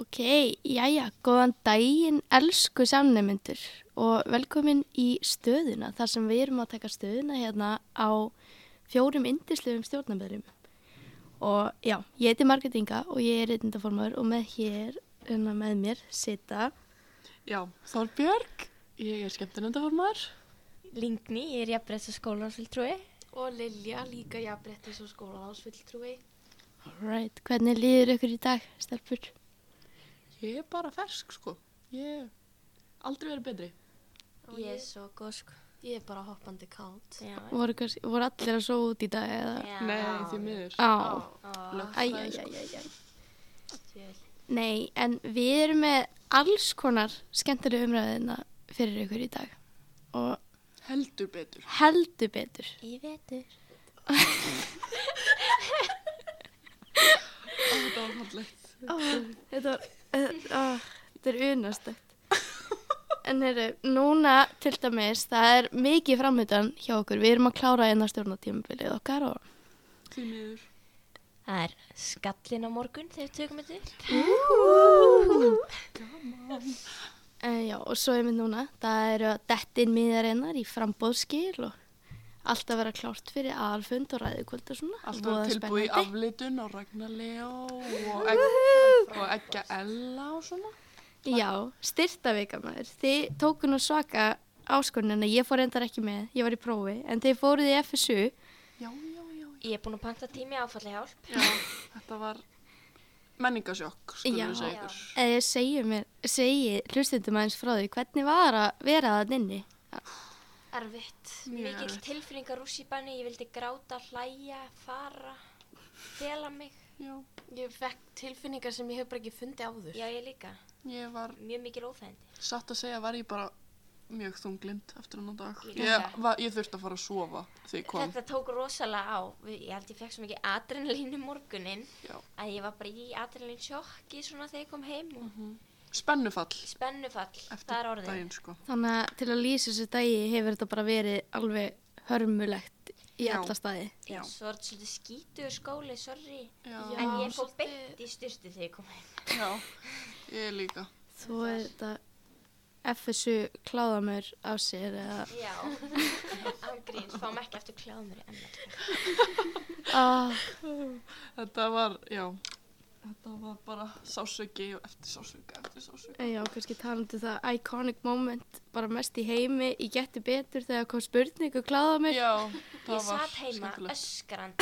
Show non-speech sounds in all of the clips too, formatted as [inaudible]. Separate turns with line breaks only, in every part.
Ok, jæja, góðan daginn elsku samnefnendur og velkomin í stöðuna þar sem við erum að taka stöðuna hérna á fjórum indislegum stjórnabæðurum og já, ég heiti Margrét Inga og ég er reyndaformaður og með hér, hérna með mér, sita
Já, Þorbjörg, ég er skemmtunendaformar.
Lingni, ég er jafnbreyts að skólanfylgtrúi.
Og Lilja líka jafnbrettis og skólanáðsfulltrúi.
Alright, hvernig líður ykkur í dag, stelpur?
Ég er bara fersk, sko. Ég aldrei verið betri.
Og
Ég er
ég,
svo góð sko.
ég er bara hoppandi kátt.
Já.
Voru, kannski- voru allir að svo út í dag eða?
Nei, því miður.
Á,
Lögfræði, sko.
æjæjæjæjæj
Ég-
Nei, en við erum með alls konar skemmtilega umræðina fyrir ykkur í dag og
Heldur betur.
heldur betur.
Í vetur.
Ó, Þetta var fallegt.
Þetta var, þetta, þetta er unastætt. [laughs] En heyrðu, núna til dæmis, það er mikið framhjöndan hjá okkur. Við erum að klára einna stjórnatímabilið okkar og
Því miður.
Það er skallin á morgun þegar við tökum þetta upp.
Uh, já, og svo er mér núna, það eru að dettin miðarinnar í frambóðskil og allt að vera klárt fyrir aðalfund og ræðukvöld og svona.
Allt
Voða
var tilbúið í
spennandi.
aflitun á Ragnar Leo og, egg, og Eggja Ella og svona.
Já, styrtavika maður. Þið tóku nú svaka áskonina, ég fór endar ekki með, ég var í prófi, en þið fóruð í FSU.
Já, já, já.
Ég er búin að panta tími áfalli hjálp.
Já, þetta var menningasjokk,
Já.
skulum við segja ykkur.
Eða Eh, segið mér, segið hlustundum aðeins frá því, hvernig var að vera það inni?
Erfitt.
Mjög
Mikill
erfitt.
tilfinningar rússipanni. Ég vildi gráta, hlæja, fara, fela mig.
Já,
Ég fekk tilfinningar sem ég hef bara ekki fundið áður.
Já, ég líka.
ég var,
Mjög mikil óþægindi.
satt að segja, var ég bara mjög þunglind eftir hennan dag.
Líka.
Ég, var, ég þurfti að fara að sofa því ég kom.
Þetta tók rosalega á. Við- Ég held ég fekk svo mikið adrenalín um í morgunin
Já.
að ég var bara í adrenalín sjokki svona þegar ég kom heim og
Spennufall
spennufall. það
eftir
er orðið.
Mhm. daginn, sko.
Þannig að til að lýsa þessu dagi hefur þetta bara verið alveg hörmulegt í
Já.
alla staði.
Já.
Já. Svo er þetta svolítið skítur skóli, sorry.
Já.
en ég fór
svolítið-
beint í styrtu þegar ég kom heim.
Já, ég líka.
Þú er þetta FSU kláðamör á sér eða...
[laughs] Já. Ángríns, fáum ekki eftir kláðumur í ML.
Ah,
Þetta var, já, þetta var bara sásöki og eftir sásöki, eftir sásöki.
Já, kannski talandi um það iconic moment bara mest í heimi, ég geti betur þegar kom spurning um og kláða mig
Já, það
Ég
var
satt heima
skemmtilegt.
öskrandi.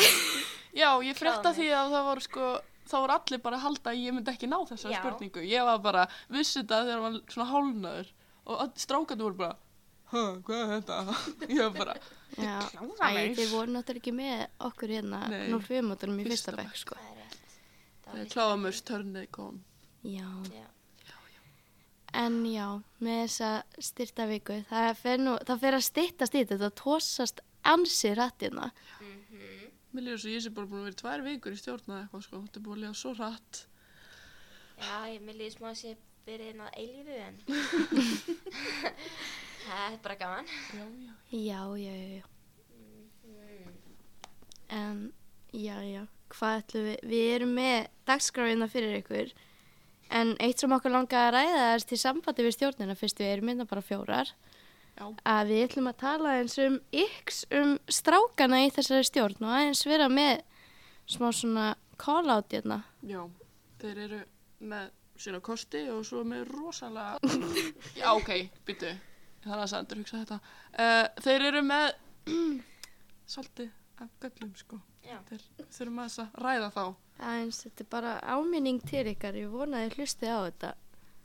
Já, ég frétta
Kláði.
því að það voru sko, það voru allir bara að halda að ég myndi ekki ná þessari
Já.
spurningu. Ég var bara, vissi þetta þegar maður var svona hálnaður og öll strákandi voru bara, hæ, hvað er þetta? [laughs] Ég var bara,
Já,
kláðalaus.
Æ, þeir voru náttúrulega ekki með okkur hérna
Nei.
05 mótunum í
Fyrsta
fyrsta bekk sko.
Það er rétt. Það var
þegar
líka-
kláðamurs törnið kom.
Já,
Já.
en já, með þessa styrta viku, það fer, nú, það fer að styttast í þetta, það tósast ansi hérna. rættina.
Mhm.
Mér líður svo ég sé bara búin að vera í tvær vikur í stjórna eða eitthvað sko, þetta er búin að líða svo rætt.
Já, ég mér líði smá að sé verið einn að eilífu en
[laughs]
[laughs] það er bara gaman.
Já, já.
Já, já, já, já,
Mm.
en já, já, hvað ætlum við, við erum með dagskráfina fyrir ykkur, en eitt sem okkur langar að ræða er til sambandi við stjórnina, fyrst við erum hérna bara fjórar,
Já,
að við ætlum að tala eins um yks um strákana í þessari stjórn og aðeins vera með smá svona call-out hérna.
Já, þeir eru með sína kosti og svo með rosalega...
[laughs]
Já, ok, býtu. Það er að Sandur hugsa þetta. Uh, þeir eru með [clears throat] svolítið af göllum, sko.
Já.
Þeir þurfum aðeins að ræða þá.
Aðeins, þetta er bara áminning til ykkar, ég vona að þið hlustið á þetta.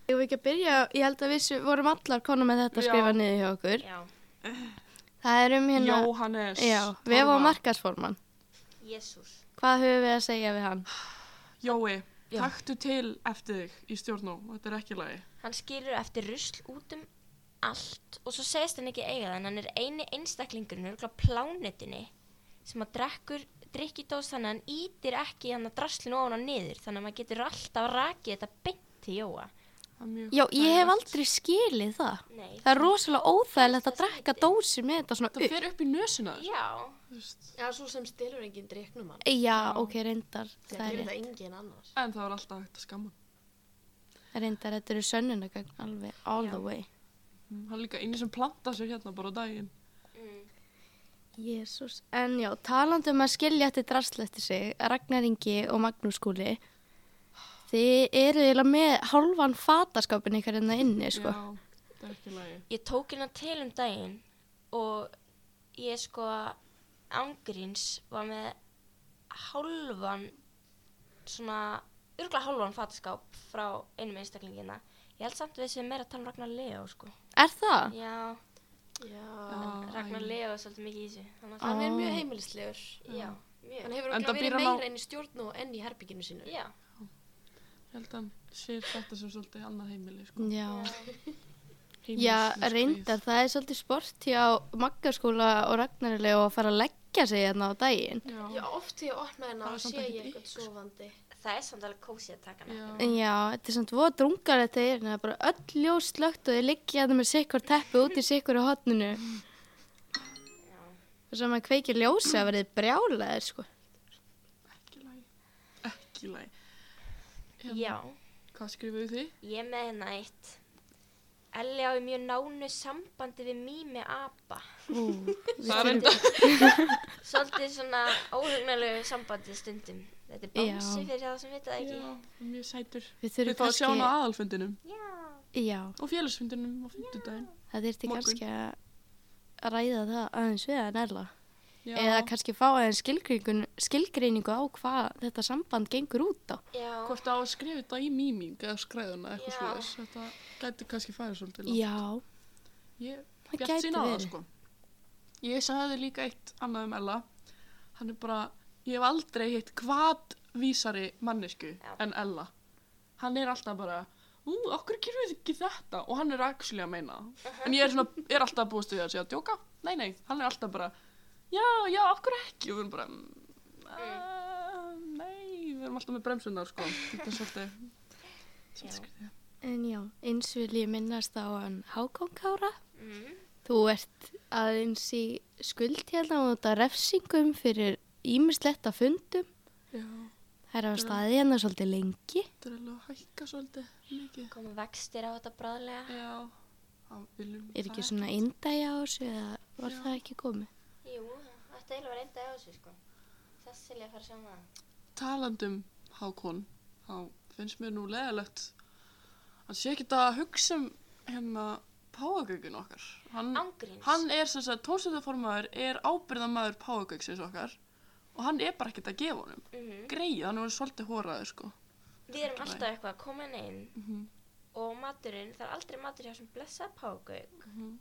Ég vil ekki að byrja, ég held að við sem vorum allar konum með þetta
Já.
að skrifa niður hjá okkur.
Já,
Það er um hérna,
Jóhannes.
já, við
Torfa.
varum markarsforman.
jésús.
Hvað höfum við að segja við hann?
Jói,
Já.
taktu til eftir þig í stjórnum. Þetta er ekki lagi.
Hann skilur eftir rusl út um allt og svo segist hann ekki eiga það en hann er eini einstaklingurinn örgulega á plánetunni sem að drekkur drikkidós þannig að hann ítir ekki hann að draslinu ofan og niður þannig að maður getur alltaf rakið þetta beint til Jóa.
Það er mjög...
Já, ég hef
þægilegt.
aldrei skilið það.
Nei.
Það er rosalega óþægilegt að drakka dósi með þetta svona
Það
upp.
fer upp í nösina. þér,
Já,
þú veist.
Já, svo sem stilur enginn driknum hann.
Já, ok, reyndar.
Það
Það er
gerir
rétt.
það enginn annars.
En það er alltaf hægt að skamma.
Reyndar, þetta eru sönnunagögn alveg all the
Já.
way.
Mm. Hann líka einu sem planta sér hérna bara á daginn.
Jésús. En já, talandi um að skilja þetta drasl eftir sig, Ragnar Ingi og Magnús Skúli, þið eru eiginlega með hálfan fataskapin ykkar hérna inni, sko.
Já, það er ekki lægi.
Ég tók hérna til um daginn og ég sko ángríns var með hálfan svona, örgla hálfan fataskáp frá einum einstaklingina. Ég held samt við sem meira að tala um Ragnar Leo sko.
Er það?
Já,
Já.
Ragnar Leo er svolítið mikið í þessu. Þannig að
Hann er mjög
Ó.
heimilislegur.
það, já, mjög.
Ah. Hann hefur
Enda
okkur
býr
verið
hann á-
meira enn í stjórn og enn í herbygginu sínu.
Já,
Ég held að hann sér þetta sem svolítið annað heimili, sko.
Já.
Heimilis,
Já, reyndar, það er svolítið sport hjá Magga skóla og Ragnarileg og að fara að leggja sig hérna á daginn.
Já, oft þegar ég opna hennar
Það er
og
samt
sé
ekkert
ég eitthvað
ykkur, sko.
sofandi.
það er samt alveg kósið að taka hana.
Já.
En já, þetta er svona voða drungar þetta er, en það er bara öll ljós slögt og þið liggja hérna með sikkur teppi út í sikkur á hotninu. Og svo maður kveikir ljósi að verið brjálaðir, sko.
Ekki lægi. Ekki lægi.
Já,
Hvað skrifuðu þið?
ég er með hérna eitt. Elli á í mjög nánu sambandi við Mými Abba.
Ú,
Það er reyndar.
Svolítið svona óhugnalegu sambandi stundum. Þetta er bánsi
Já.
fyrir það sem vita það ekki.
Já, mjög sætur.
Við
Við
þurfum
fáum að sjá hann á
kannski,
aðalfundinum
Já.
já,
og félagsfundinum á fymtudaginn.
það þyrfti
Morgun.
kannski að ræða það aðeins við að nærla.
Já.
Eða kannski fá aðeins skilgreiningu, skilgreiningu á hvað þetta samband gengur út á.
Já.
Hvort á að skrifa þetta í mýming eða skræðuna eitthvað
Já.
svo þess. Þetta gæti kannski farið svolítið. langt.
Já,
Ég
það
bjart
gæti
sín á það
verið.
sko. Ég sagði líka eitt annað um Ella. Hann er bara, ég hef aldrei hitt hvatvísari mannesku
Já.
en Ella. Hann er alltaf bara, ú, okkur gerum við ekki þetta? Og hann er actually að meina það.
Uh-huh.
En ég er, svona, er alltaf búist við að segja að djóka. Nei, nei, hann er alltaf bara, já, já, okkur ekki. Og við erum bara, "Mm, eh, nei, við erum alltaf með bremsunar sko. Þetta er svolítið, svolítið
Já.
skrítið.
En já, eins vil ég minnast á hann Hákonkára.
Mm.
Þú ert aðeins í skuld hérna og þetta refsingum fyrir ímislegt að fundum.
Já,
Það er að staði hérna svolítið lengi.
þetta er alveg að hækka svolítið mikið.
Koma vextir á þetta bráðlega.
Já, það viljum
Er ekki
það
svona indæja á þessu eða var
Já.
það ekki komið?
Jú, þetta er alveg reynda á þessu sko. Cecilia fara saman að það.
Talandum um Hákon, þá finnst mér nú leðalegt að sé ekki að hugsa um hérna páagöggun okkar. Hann,
Ángríns.
Mm. hann er sem sagt, tónstöðaformaður er ábyrðamaður páagöggsins okkar og hann er bara ekkert að gefa honum.
Mhm.
Greið, hann er orðinn svolítið hóraður sko.
Við erum alltaf eitthvað að koma inn inn og maturinn, það er aldrei matur hjá sem blessað págauk.
Mhm.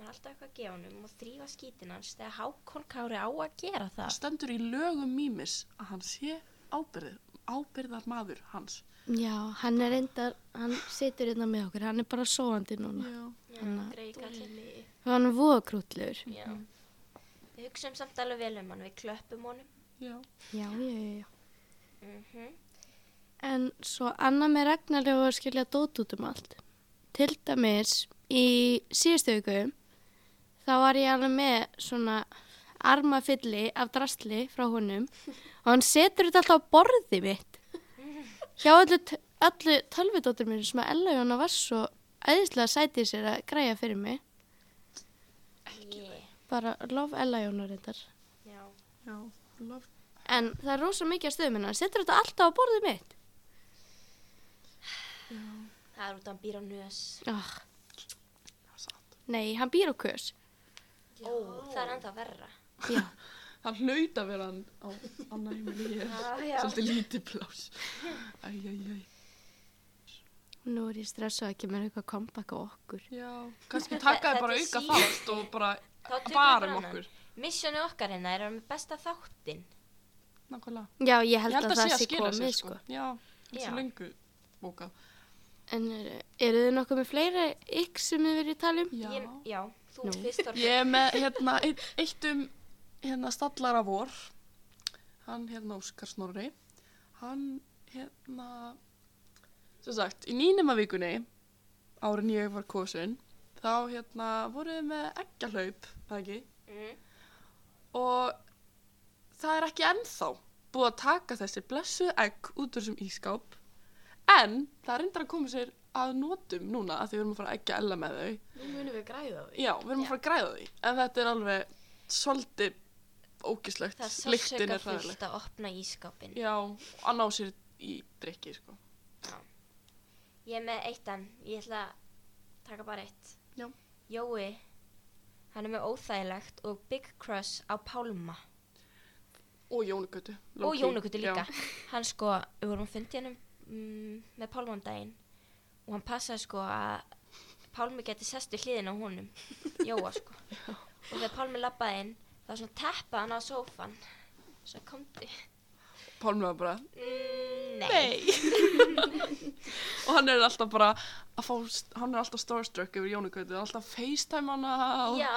Maður er alltaf eitthvað að gefa honum og þrýfa skítin hans þegar Hákon Kári á að gera
Það
það.
stendur í lögum mýmis að hann sé ábyrðir, ábyrðar maður hans.
Já, hann er reyndar, hann situr hérna með okkur, hann er bara sóandi núna.
Já,
Já,
Hann-
greið kallinn.
Hann er voðakrútlegur.
Já. Við hugsaum samt alveg vel um hann, við klöppum honum.
já.
Já, já, já, já.
Mm
En svo annað með Ragnarlegu að skilja dót út um allt. Til dæmis í síðustu viku þá var ég alveg með svona armafylli af drasli frá honum og hann setur þetta alltaf á borðið mitt. Hjá öllu, t- öllu tölvidóttur mínu sem að Ella Jóna var svo æðislega sætið sér að græja fyrir mig.
yeah.
Bara lof Ella Jóna reyndar.
Já.
Já, love.
En það er rosa mikið að stöðum hérna. Hann setur þetta alltaf á borðið mitt.
Það er út að hann býr á nös.
Oh,
Það er satt.
nei, hann býr á kös.
Ó, það er ennþá verra.
Já.
Það hlaut að vera hann á annað heimili hér.
já.
Svolítið lítið plás. Æj, æj, æj.
Nú er ég stressað að kemur eitthvað comeback á okkur.
Já, kannski
[laughs] Þetta-
taka þið bara
þetta er
auka
síðasti.
þátt og bara
Þá tökum við
bara um
bara
okkur.
Missjónu okkar hérna er að vera með besta þáttinn.
Nákvæmlega.
Já, ég held, að,
sé
það sé
skila sér,
komið, sko.
Já, það
Já.
sé lengu bókað.
En eru- eru þið nokkuð með fleira ykk sem þið verið að tala um?
Já.
Ég, já, þú
Nú.
fyrst þorfið.
Ég er með hérna eitt, eitt um hérna stallara vor. Hann hérna Óskar Snorri. Hann hérna, sem sagt, í nýnumavíkunni árin ég var kosin, þá hérna voruð þið með eggjahlaup, það ekki?
Mm.
og það er ekki ennþá búið að taka þessi blessuð egg út úr þessum ískáp En það er reyndar að koma sér að notum núna að því við erum að fara að ekki ella með þau.
Nú munum við græða á því.
Já, við erum að fara að græða því. En þetta er alveg svolítið ógislegt.
Það er
Lyktin
sársöka
er hræðileg.
að opna ískapin.
Já, að ná sér í drikki, sko.
Ég er með eitt enn, ég ætla að taka bara eitt.
Já.
Jói, hann er með óþægilegt og Big Crush á Pálma.
Og Jónugutu.
Og Jónugutti líka. Hann sko, við vorum fundið hann mm, með Pálma um daginn og hann passaði sko að Pálmi geti sest við hliðin á honum. Jóa sko. og þegar Pálmi labbaði inn, þá svona teppaði hann á sófan. Svo komdu.
Pálmur var bara,
Mm, nei.
nei. og hann er alltaf bara að fá, hann er alltaf starstruck yfir Jónugutu. Það er alltaf að facetime hana og
Já.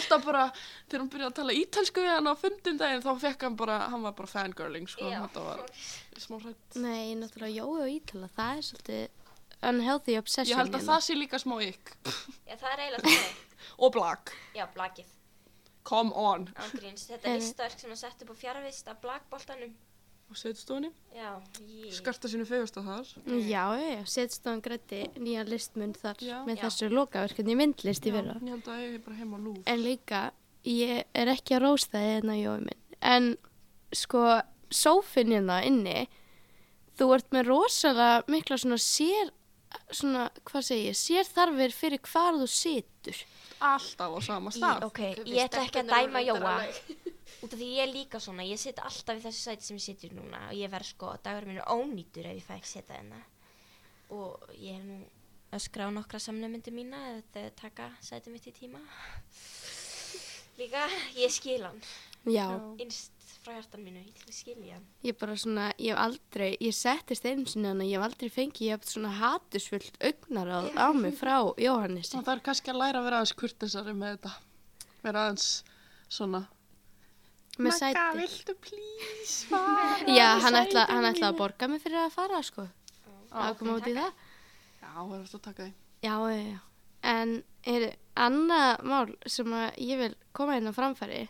alltaf bara, þegar hann byrjaði að tala ítalsku við hann á fundum daginn, þá fekk hann bara, hann var bara fangirling, sko.
Já.
Þetta var smá hrætt.
Nei, náttúrulega Jói og Ítala, það er svolítið unhealthy obsession.
Ég held að
hérna.
það sé líka smá ykk.
Já, það er eiginlega þannig.
Og blag.
Já, blakið.
Come on.
Ángríns, þetta
Eh.
er listaverk sem hann sett upp á fjarvist af blakboltanum.
Og setstofunni.
Já, ég.
Skarta sínu fegursta þar.
Já, já, setstofan grætti nýjan listmun þar
Já.
með
Já.
þessu lokaverkunni myndlist í
Já,
fyrra.
Ég held að ég er bara heima á lúf.
En líka, ég er ekki að rósta þið hérna Jói minn, en sko, sófinn hérna inni, þú ert með rosalega mikla svona sér, svona, hvað segi ég, sér þarfir fyrir hvar þú situr.
Alltaf á sama stað.
ok, ég ætla ekki að dæma Jóa. Út af því ég er líka svona, ég sitt alltaf í þessu sæti sem ég situr núna og ég verð sko, dagur minn er ónýtur ef ég fæ ekki setja hérna. Og ég er nú öskra á nokkra samnefndu mína eða þau taka sæti mitt í tíma. Líka, ég skil hann.
Já,
Innst frá hjartan mínu, ég ætla að skilja hann.
ég bara svona, ég hef aldrei, ég settist einu sinni hann ég hef aldrei fengið, ég hef svona hatusfullt augnaráð á mig frá Jóhannesi.
Þannig að það er kannski að læra að vera aðeins kurtisari með þetta. Vera aðeins svona.
Með
Magga,
sæti.
viltu please fara?
Já, hann
Sæti
ætla, hann
mínu.
ætla að borga mig fyrir að fara, sko. Að
hérna. ok,
koma út í
taka.
það.
Já, það er alltaf að taka því.
Já, já, já. En er annað mál sem að ég vil koma hérna á framfæri,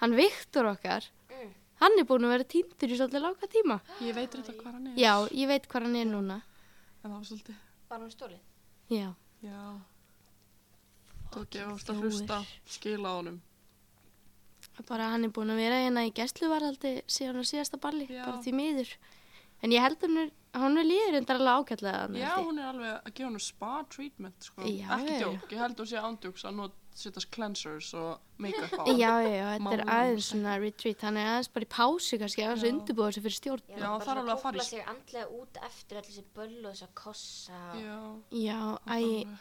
hann Viktor okkar,
Mm.
hann er búin að vera týndur í svolítið langa tíma.
Ég veit reynda hvað hann er.
Já, ég veit hvað hann er núna.
En það var svolítið.
Var hún
[laughs]
stólið?
Já.
Já. Tók ég ofta að hlusta. Skila á honum.
Bara hann er búin að vera hérna í gæsluvarhaldi síðan á síðasta balli,
Já.
bara því miður. En ég held hann er, hann er líður endar alveg ágætlega hann.
Já, hún er alveg að gefa hennu spa treatment, sko.
Já,
Ekki
já.
djók, ég held hún sé ándjóks að not, setjast cleansers og make-up á.
Já, já, já, þetta er
Málum.
aðeins svona retreat, hann er aðeins bara í pásu kannski, aðeins
Já.
undirbúða sig fyrir stjórn.
Já, það er alveg að fara í-
í. sig andlega út eftir allir þessi böll og þessi kossa. og-
Já,
Já, æg,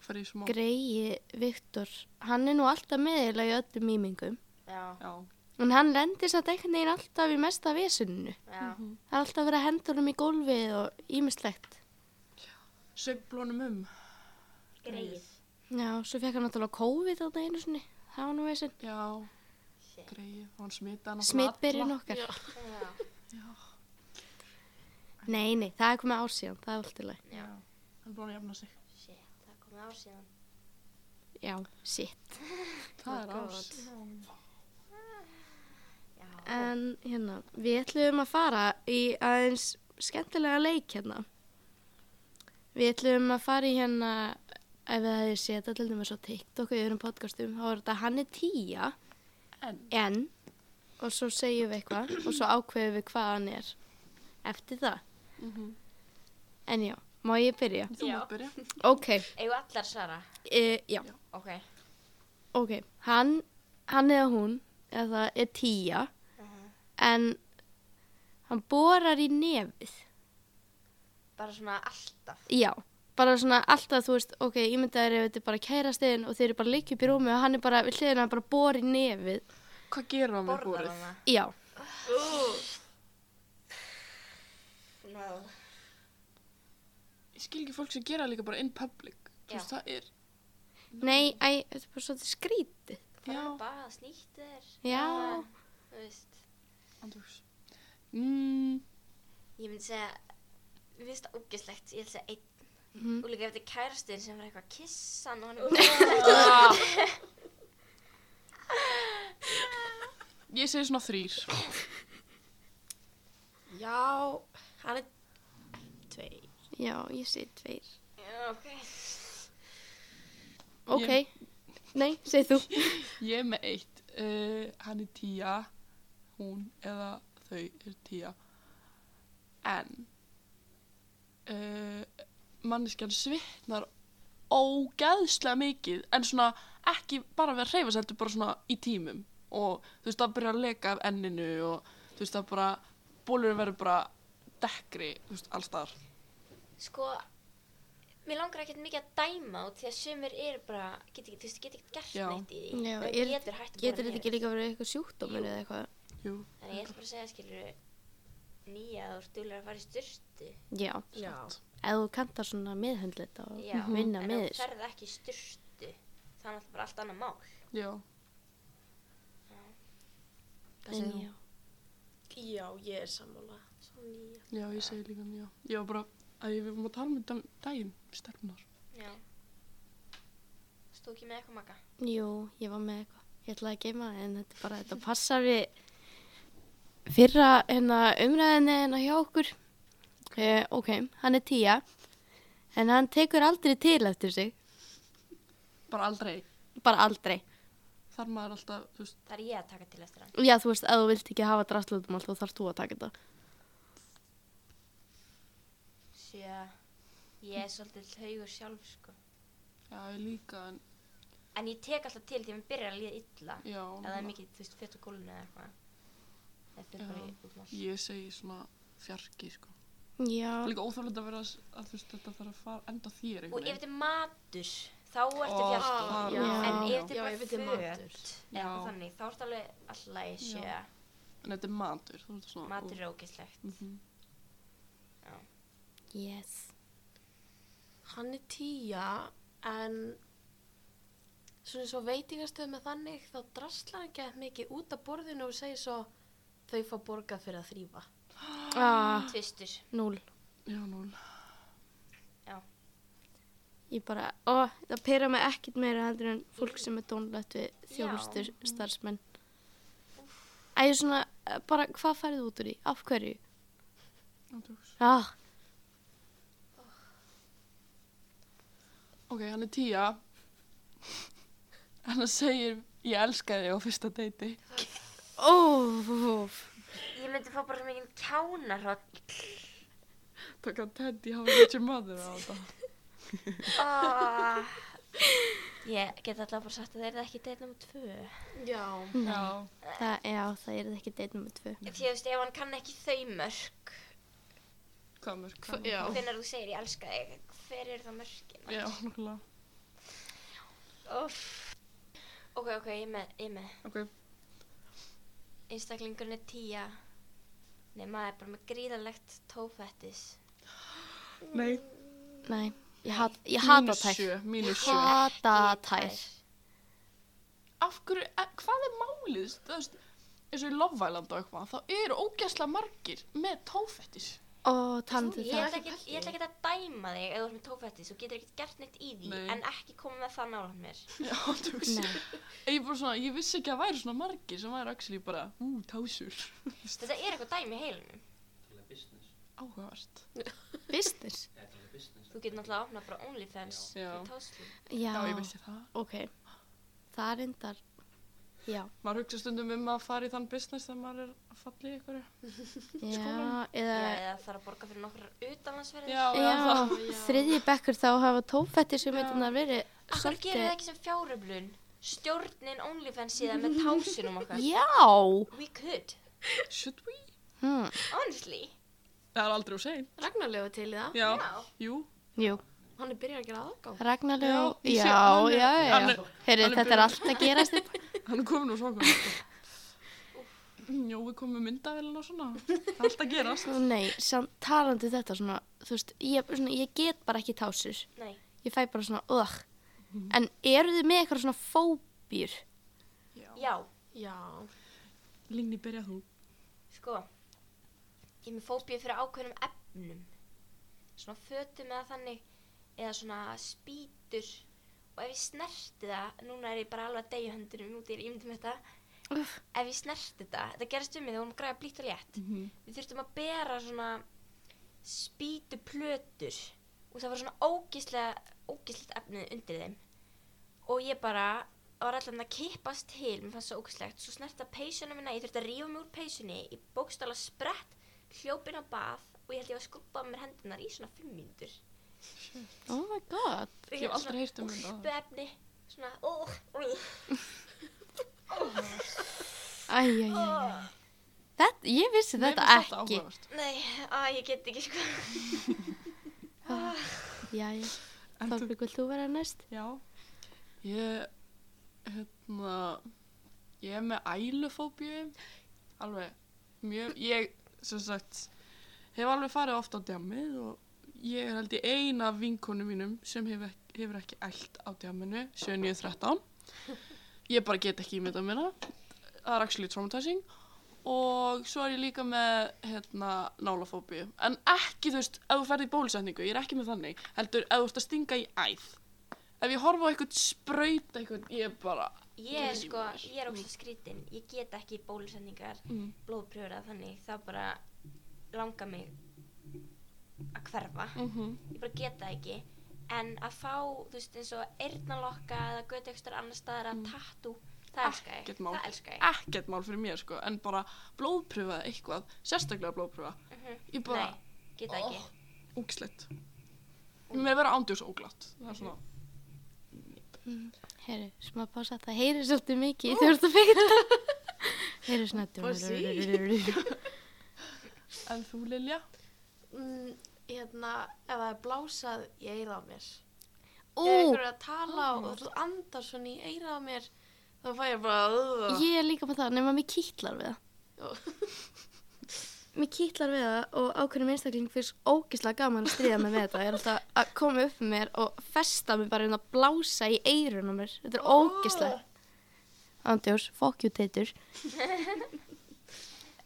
fyrir í smá.
greiði Viktor, hann er nú alltaf meðilega í öllum mýmingum
Já,
Já,
en hann lendir satt einhvern veginn alltaf í mesta vesuninu.
já.
Mhm.
Það er alltaf verið að henda honum í gólfið og ímislegt.
sögblónum um.
Greið.
Já, svo fekk hann náttúrulega COVID þarna einu sinni. Það var nú vesen.
Já, greið, og hann smita hann.
Smitbyrjun okkar.
Já.
Nei, nei, það er komið ár síðan, það er alltaf leið.
Já, hann er búin að jafna sig.
Shit, það er komið ár síðan.
Já, sitt.
Það er
Oh God.
ás.
Já.
En hérna, við ætlum að fara í aðeins skemmtilega leik hérna. Við ætlum að fara í hérna, ef við hefði setja til dæmis á TikTok og öðrum podcastum, þá er þetta hann er tíja.
En,
en og svo segjum við eitthvað og svo ákveðum við hvað hann er eftir það en já, má ég byrja?
þú
Já.
mátt byrja.
ok,
Eigum allar svara?
e, já,
Ok.
ok hann, hann eða hún eða það er tíja Mhm. en hann borar í nefið
Bara svona alltaf.
já, bara svona alltaf þú veist ok, ímyndaður ef þetta er bara kærastiðin og þeir eru bara líkjum í rúmi og hann er bara við hliðina bara bor í nefið
Hvað gerir hann við
Borðar
búrið?
hana.
já,
No.
Ég skil ekki fólk sem gera líka bara in public. Þú
Já.
veist, það er,
nei, æ, þetta er bara svolítið skrítið
Bara
Já.
bara snýttir.
Já.
Bara, Þú veist.
andjóks. Mm,
Ég myndi segja, við finnst það ógeslegt. Ég ætla að segja einn.
Mhm.
Og líka ef þetta er kærastinn sem er eitthvað að kissa hann og hann er ógeslegt.
Ah. ég segi svona þrýr.
Já, hann er tvei.
Já, ég segi tveir.
Já, ok.
Ok, nei, segið
[laughs]
þú.
Ég er með eitt. Uh, hann er tíja, hún eða þau er tíja. En uh, manneskjan svitnar ógeðslega mikið en svona ekki bara við að hreyfa sér heldur bara svona í tímum og þú veist það byrjar að leka af enninu og þú veist það bara bólurinn verður bara dekkri þú veist allstaðar
Sko, mér langar ekkert mikið að dæma út því að sumir eru bara, get ekki, þú veist, get ekki gert
Já.
neitt í því.
Já,
Það
er-
getur hægt að
Getur þetta
niður.
ekki líka verið eitthvað sjúkdómur
Jú.
eða eitthvað?
Jú.
Þannig ég ætla bara að segja, skilur, nýja að þú ert duðlega að fara í styrtu.
Já,
Já.
ef þú kantar svona miðhundlita og
Já,
vinna
en
með
ef
þér.
þú ferð ekki í styrtu, það er náttúrulega bara allt annað mál.
Já.
Hvað segir
En
þú?
já.
Já, ég er sammála. Svo nýja.
Já, ég segi líka nýja. Ég var bara að ég við varum að tala um þetta um daginn, stelpunar.
Já. Stó ekki með eitthvað maga?
Jú, ég var með eitthvað. Ég ætlaði að geima það en þetta er [laughs] bara, þetta passar við fyrra hérna, umræðinni hérna hjá okkur. Eh, ok, hann er tíja, en hann tekur aldrei til eftir sig,
Bara aldrei.
bara aldrei.
Þar maður alltaf, þú veist,
Það er ég að taka til eftir hann.
Já, þú veist, ef þú vilt ekki hafa drastlutum alltaf þarfst þú að taka þetta.
Sjö, ég er svolítið haugur sjálf, sko.
já, ég líka, en
En ég tek alltaf til því að mér byrjar að líða illa.
já.
Ef það er mikið, þú veist, fett á gólunni eða eitthvað. Það fyrir bara í út um allt.
Ég segi svona fjarki, sko.
Já,
Það er líka óþálega að vera s- að þú veist, þetta þarf að fara enda þér
Og ef
einhvern
þetta er matur, þá ertu
Ó,
það
fjarki.
er-
En
Já.
ef þetta
Já,
er
ef þetta er
bara
matur.
föt, eða eitthvað
Já.
þannig, þá ertu alveg alltaf í sjö.
Já. En þetta er matur, þú veist svona.
Matur er ógeðslegt.
Mm -hmm.
yes.
Hann er tíja, en svona eins og veitingastöð með þannig, þá draslar hann gett mikið út af borðinu og segir svo þau fá borgað fyrir að þrýfa.
Ah,
Tvistur.
núl.
Já, núl.
Ég bara, ó, það pera mig ekkit meira heldur en fólk sem er dónlegt við þjónustur
Já.
starfsmenn. Æ, ég er svona, eh, bara, hvað færðu út úr því? Af hverju?
Já, tjóks.
Ah,
Ok, hann er tíja. [laughs] hann segir, ég elska þig á fyrsta deiti.
ó,
Ég myndi fá bara mikið kjánarhótt.
Takk að Teddy hafa Richard Mother á þetta.
Ah. Ég get alltaf bara sagt að þeir eru ekki deitt nummer tvö.
Já.
[laughs] Já.
það, já, það er ekki deitt nummið tvö.
Því þú veist, ef hann kann ekki þau mörk,
Hvað mörg?
Hva- Já.
hvenar þú segir ég elska þig, hver eru það mörkin?
Já, nokkulega.
Óff. Ok, ok, ég er með, ég er með.
Ok,
einstaklingurinn er tíja Nei, maður er bara með gríðalegt tófettis
nei.
Nei, ég, hat, ég hata
Mínus
tær.
sjö, mínus sjö.
Hata
Ah,
tær.
Af hverju, eh, hvað er málið? Þú veist, eins og í Love Island og eitthvað, þá eru ógæslega margir með tófettis.
Ó, talandi um
Ég
það.
ætla ekki, ég ætla ekki að dæma þig ef þú ert með tófettis og getur ekkert gert neitt í því
Nei.
en ekki koma með það nálan mér
Já, þú [laughs] veist.
Nei,
Ég, bara svona, ég vissi ekki að væri svona margir sem væri actually bara, ú, tásur.
Þetta er eitthvað dæmi í heilinum
Tala business.
Áhugavert.
business.
Eða tala business.
Þú getur náttúrulega að opna bara OnlyFans
Já. Já.
fyrir tóslu
Já,
Já, ég vissi það.
ok. Það er endar, já.
Maður hugsa stundum um að fara í þann business þegar maður er að falla í ykkur.
Já, eða...
Já, eða þarf að borga fyrir nokkrar utanlandsferðir
Já, [laughs] já,
Já,
það.
já.
þriðji bekkur þá hafa tófættir sem
Já.
myndunar verið
Akkur gerir það ekki sem fjáröflun Stjórnin OnlyFans síðan með tásunum okkar
Já
We could,
Should we?
hmm.
honestly
Það er aldrei úr sein.
Ragnarlegu til í það.
Já.
Já.
Jú.
Jú,
Hann er byrjað að gera aðgang.
Ragnarlegu
Já, ég sé-
Já,
hann
já,
er-
já,
hann
já.
er-
Heyrðu,
hann
þetta
er
er
byrjaður.
allt að gerast upp
Hann er komin úr svakum. Jó, við komum með myndavélina og svona. Það er Allt að gerast.
Svo nei, samt talandi um þetta svona Þú veist, ég, svona, ég get bara ekki tásur
Nei,
Ég fæ bara svona, ögh
Mhm.
En eru þið með eitthvað svona fóbýr?
já,
Já.
Lingni, byrja þú.
Sko, ég er með fóbíu fyrir ákveðnum efnum. Svona fötum eða þannig, eða svona spýtur. Og ef ég snerti það, núna er ég bara alveg að deyja höndunum út, ég er ímyndum þetta.
Uff.
Ef ég snerti það, þetta gerist um mig þegar hún græða blítt og létt.
Mm -hmm.
Við þurftum að bera svona spýtu plötur og það var svona ógislega, ógislega efnið undir þeim og ég bara var allan að kippast til, mér fannst það ógislegt svo snerta peysuna minna, ég þurfti að rífa mig úr peysunni ég bókstala sprett hljópin á bað og ég held ég var að skrúpa mér hendunar í svona fimm mínútur
Oh my god.
Ég hef aldrei heyrt um þetta.
Úlpuefni, svona, ó, ó,
Æ, æ, æ, æ.
ó
Þetta, ég vissi
Mér
þetta
finnst
ekki.
áhugavert.
Nei, á, ég get ekki sko
Jæja,
En þú,
Þorbjörg, vilt þú vera næst?
já. Ég, hérna, ég er með ælufóbíu, alveg, mjög, ég, sem sagt, hef alveg farið oft á djammið og ég er held í eina af vinkonum mínum sem hefur, ek- hefur ekki ælt á djamminu, 7.9.13. Ég bara get ekki ímyndað mér það. Það er actually traumatizing. Og svo er ég líka með hérna, nálafóbíu. En ekki, þú veist, ef þú ferð í bólusetningu, ég er ekki með þannig, heldur ef þú ert að stinga í æð. Ef ég horfa á eitthvað spröyt eitthvað, ég er bara...
Ég er
Drífur.
sko, ég er ógst skrítin Ég get ekki bólusendingar
Mm.
blóðpröfur að þannig þá bara langar mig að hverfa
Mm
Mhm.
ég bara get það ekki en að fá, þú veist, eins og eyrnalokka eða götu ekstra annar staðar að
Mm.
tattu það elska ég,
Ekkert mál.
það elska ég
Ekkert mál fyrir mér, sko, en bara blóðpröfa eða eitthvað, sérstaklega blóðpröfa.
Mhm.
Ég bara,
nei, get það
Oh.
ekki
ógslitt. Mér verður ándjós óglatt. Það er svona,
Herru, smá pása, það heyrir svolítið mikið í
[laughs]
þjórnabeginu. Heyrir svona...
Pási.
en þú Lilja?
Mm, hérna, ef það er blásað í eira á mér.
Ú, Ah.
Ef einhver er að tala og þú andar svona í eira á mér, þá fæ ég bara... Uh,
ég er líka með það, nema mér kýtlar við það. Mér kýtlar við það og ákveðnum einstakling fyrst ógislega gaman að stríða mig með þetta. Ég er alltaf að koma upp með mér og festa mig bara inn að blása í eirun á mér. Þetta er ógislega. Andjós, fuck you, teitur.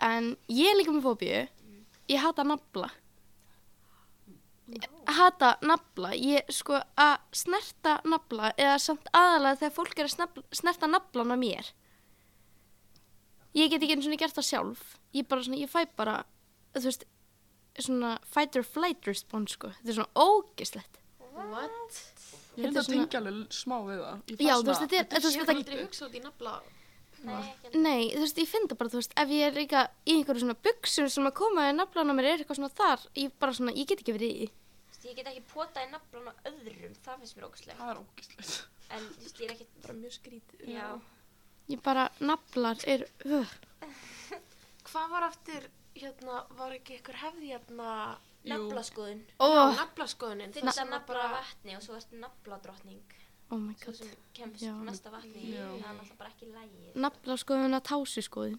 En ég er líka með fóbíu. Ég hata nafla. Ég hata nafla. Ég sko að snerta nafla eða samt aðalega þegar fólk er að snafla, snerta naflan á mér. Ég get ekki eins og gert það sjálf. Ég bara svona, ég fæ bara, þú veist, svona fight or flight response sko. Þetta er svona ógislegt.
What?
Ég
Þetta
reyndi
er
að
svona-
tengja alveg smá við það. Ég fæ
Já, þú
svona-
veist, þetta er,
Ég
þetta er,
hef
þetta
aldrei hugsað út í nafla.
nei, ekki heldur.
Nei, þú veist, ég finn það bara, þú veist, ef ég er líka í einhverju svona buksum sem að koma í naflan á mér er eitthvað svona þar, ég bara svona, ég get ekki verið í. því.
Þú veist, ég get ekki potað í naflan á öðrum það finnst mér ógustlega
Það er ógislegt.
en þú veist, ég er ekki
Bara mjög skrítið.
já,
Ég bara, naflar er, uh,
Hvað var aftur, hérna, var ekki ykkur hefði hérna...
naflaskoðun
oh,
Naflaskoðunin.
finnst að nafla á vatni og svo ertu nafladrottning
oh my
svo
god.
sem kemst
Já.
næsta vatni
Já.
það er náttúrulega bara ekki lægi
Nafla skoðun að tási skoðun.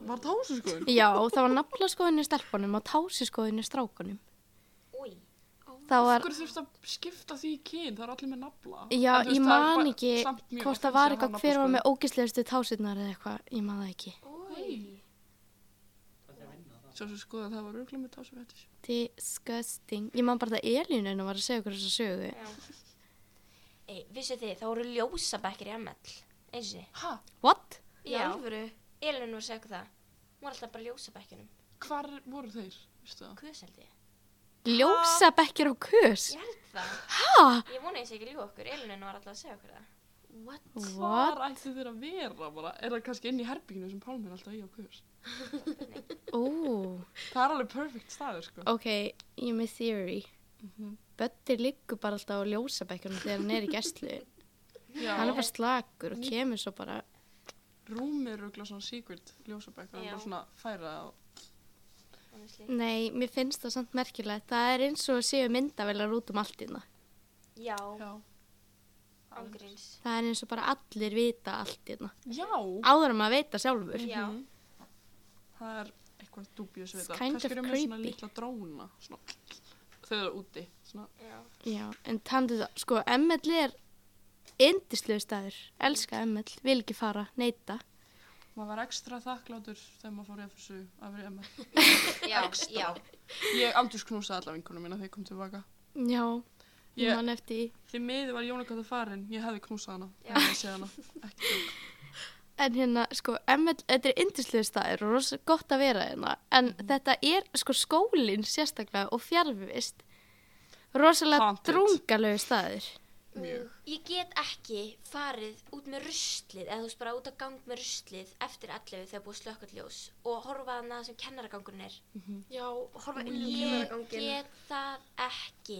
Var það húsu sko?
Já, það var nafla skoðun í stelpunum og tási skoðun í strákunum.
Új,
Það
Af
var,
hverju þurftu að skipta því í kyn? Það er allir með nafla.
já,
En
ég
þú veist, það er
man
bara-
ekki
samt mjög
hvort
oft
það var
sem
eitthvað,
nafla
hver var
skoðun.
með ógislegustu tásinar eða eitthvað, ég man það ekki.
Ói.
Svo sem skoða sko, það var örgulega með tásur hættis.
Disgusting. Ég man bara það Elínu var að segja okkur þessa sögu.
já. Ei, vissu þið, það voru ljósabekkir í ML, eins og þið.
Hæ?
What?
Í alvöru.
Elin var að segja okkur það. Hún var alltaf bara í ljósabekkinum.
Hvar voru þeir? Vistu það?
Kus held ég.
Ljósa bekkir á kus?
Ég held það.
Hæ?
Ég vona eins og ekki ljú okkur. Elin var alltaf að segja okkur það.
What?
What?
Hvar ættu þeir að vera bara? Er það kannski inn í herbygginu sem Pálmi er alltaf í á kurs?
Ó,
Það er alveg perfect staður sko.
ok, ég er með theory. Bötti liggur bara alltaf á ljósabekkunum þegar hann er í gæstlu.
Já.
Hann er bara slakur og kemur svo bara,
Rúmið er örgulega svona secret ljósabæk. Það er
Já.
bara svona færa og...
Honestly.
nei, mér finnst það samt merkilegt. Það er eins og að séu myndavelar út um allt hérna.
Já,
Já.
ángríns.
Það er eins og bara allir vita allt hérna.
Já.
Áður en maður veit það sjálfur.
Já.
Mhm. Það er eitthvað dubjus við
It's
það.
kind
Kannski
of
eru með svona
creepy.
litla dróna. Svona. [laughs] Þau eru úti. Svona.
Já.
Já, en tandu það, sko, ML er indislegu staður. Elska ML, vil ekki fara, neyta.
Maður var ekstra þakklátur þegar maður fór í FSU að vera í MR.
Já, já.
Ég aldrei knúsaði alla vinkunum mína þegar ég kom tilbaka.
Já, ég
Ég-
man eftir því.
[laughs]
Því miður var Jónakata farin, ég hefði knúsað hana.
Já.
Ég hefði séð hana. Ekki.
En hérna, sko, ML, þetta er yndislega staður og rosa gott að vera hérna. En þetta er, sko, skólinn sérstaklega og fjarfvist. Rosalega
Haunted.
drungalegu staður.
Mjög.
Ég get ekki farið út með ruslið eða þú veist bara út á gang með ruslið eftir 11 þegar búið slökkvöld ljós og horfa að það sem kennaragangurinn er.
Já, horfa inn í
Ég
kemuragangin.
get það ekki.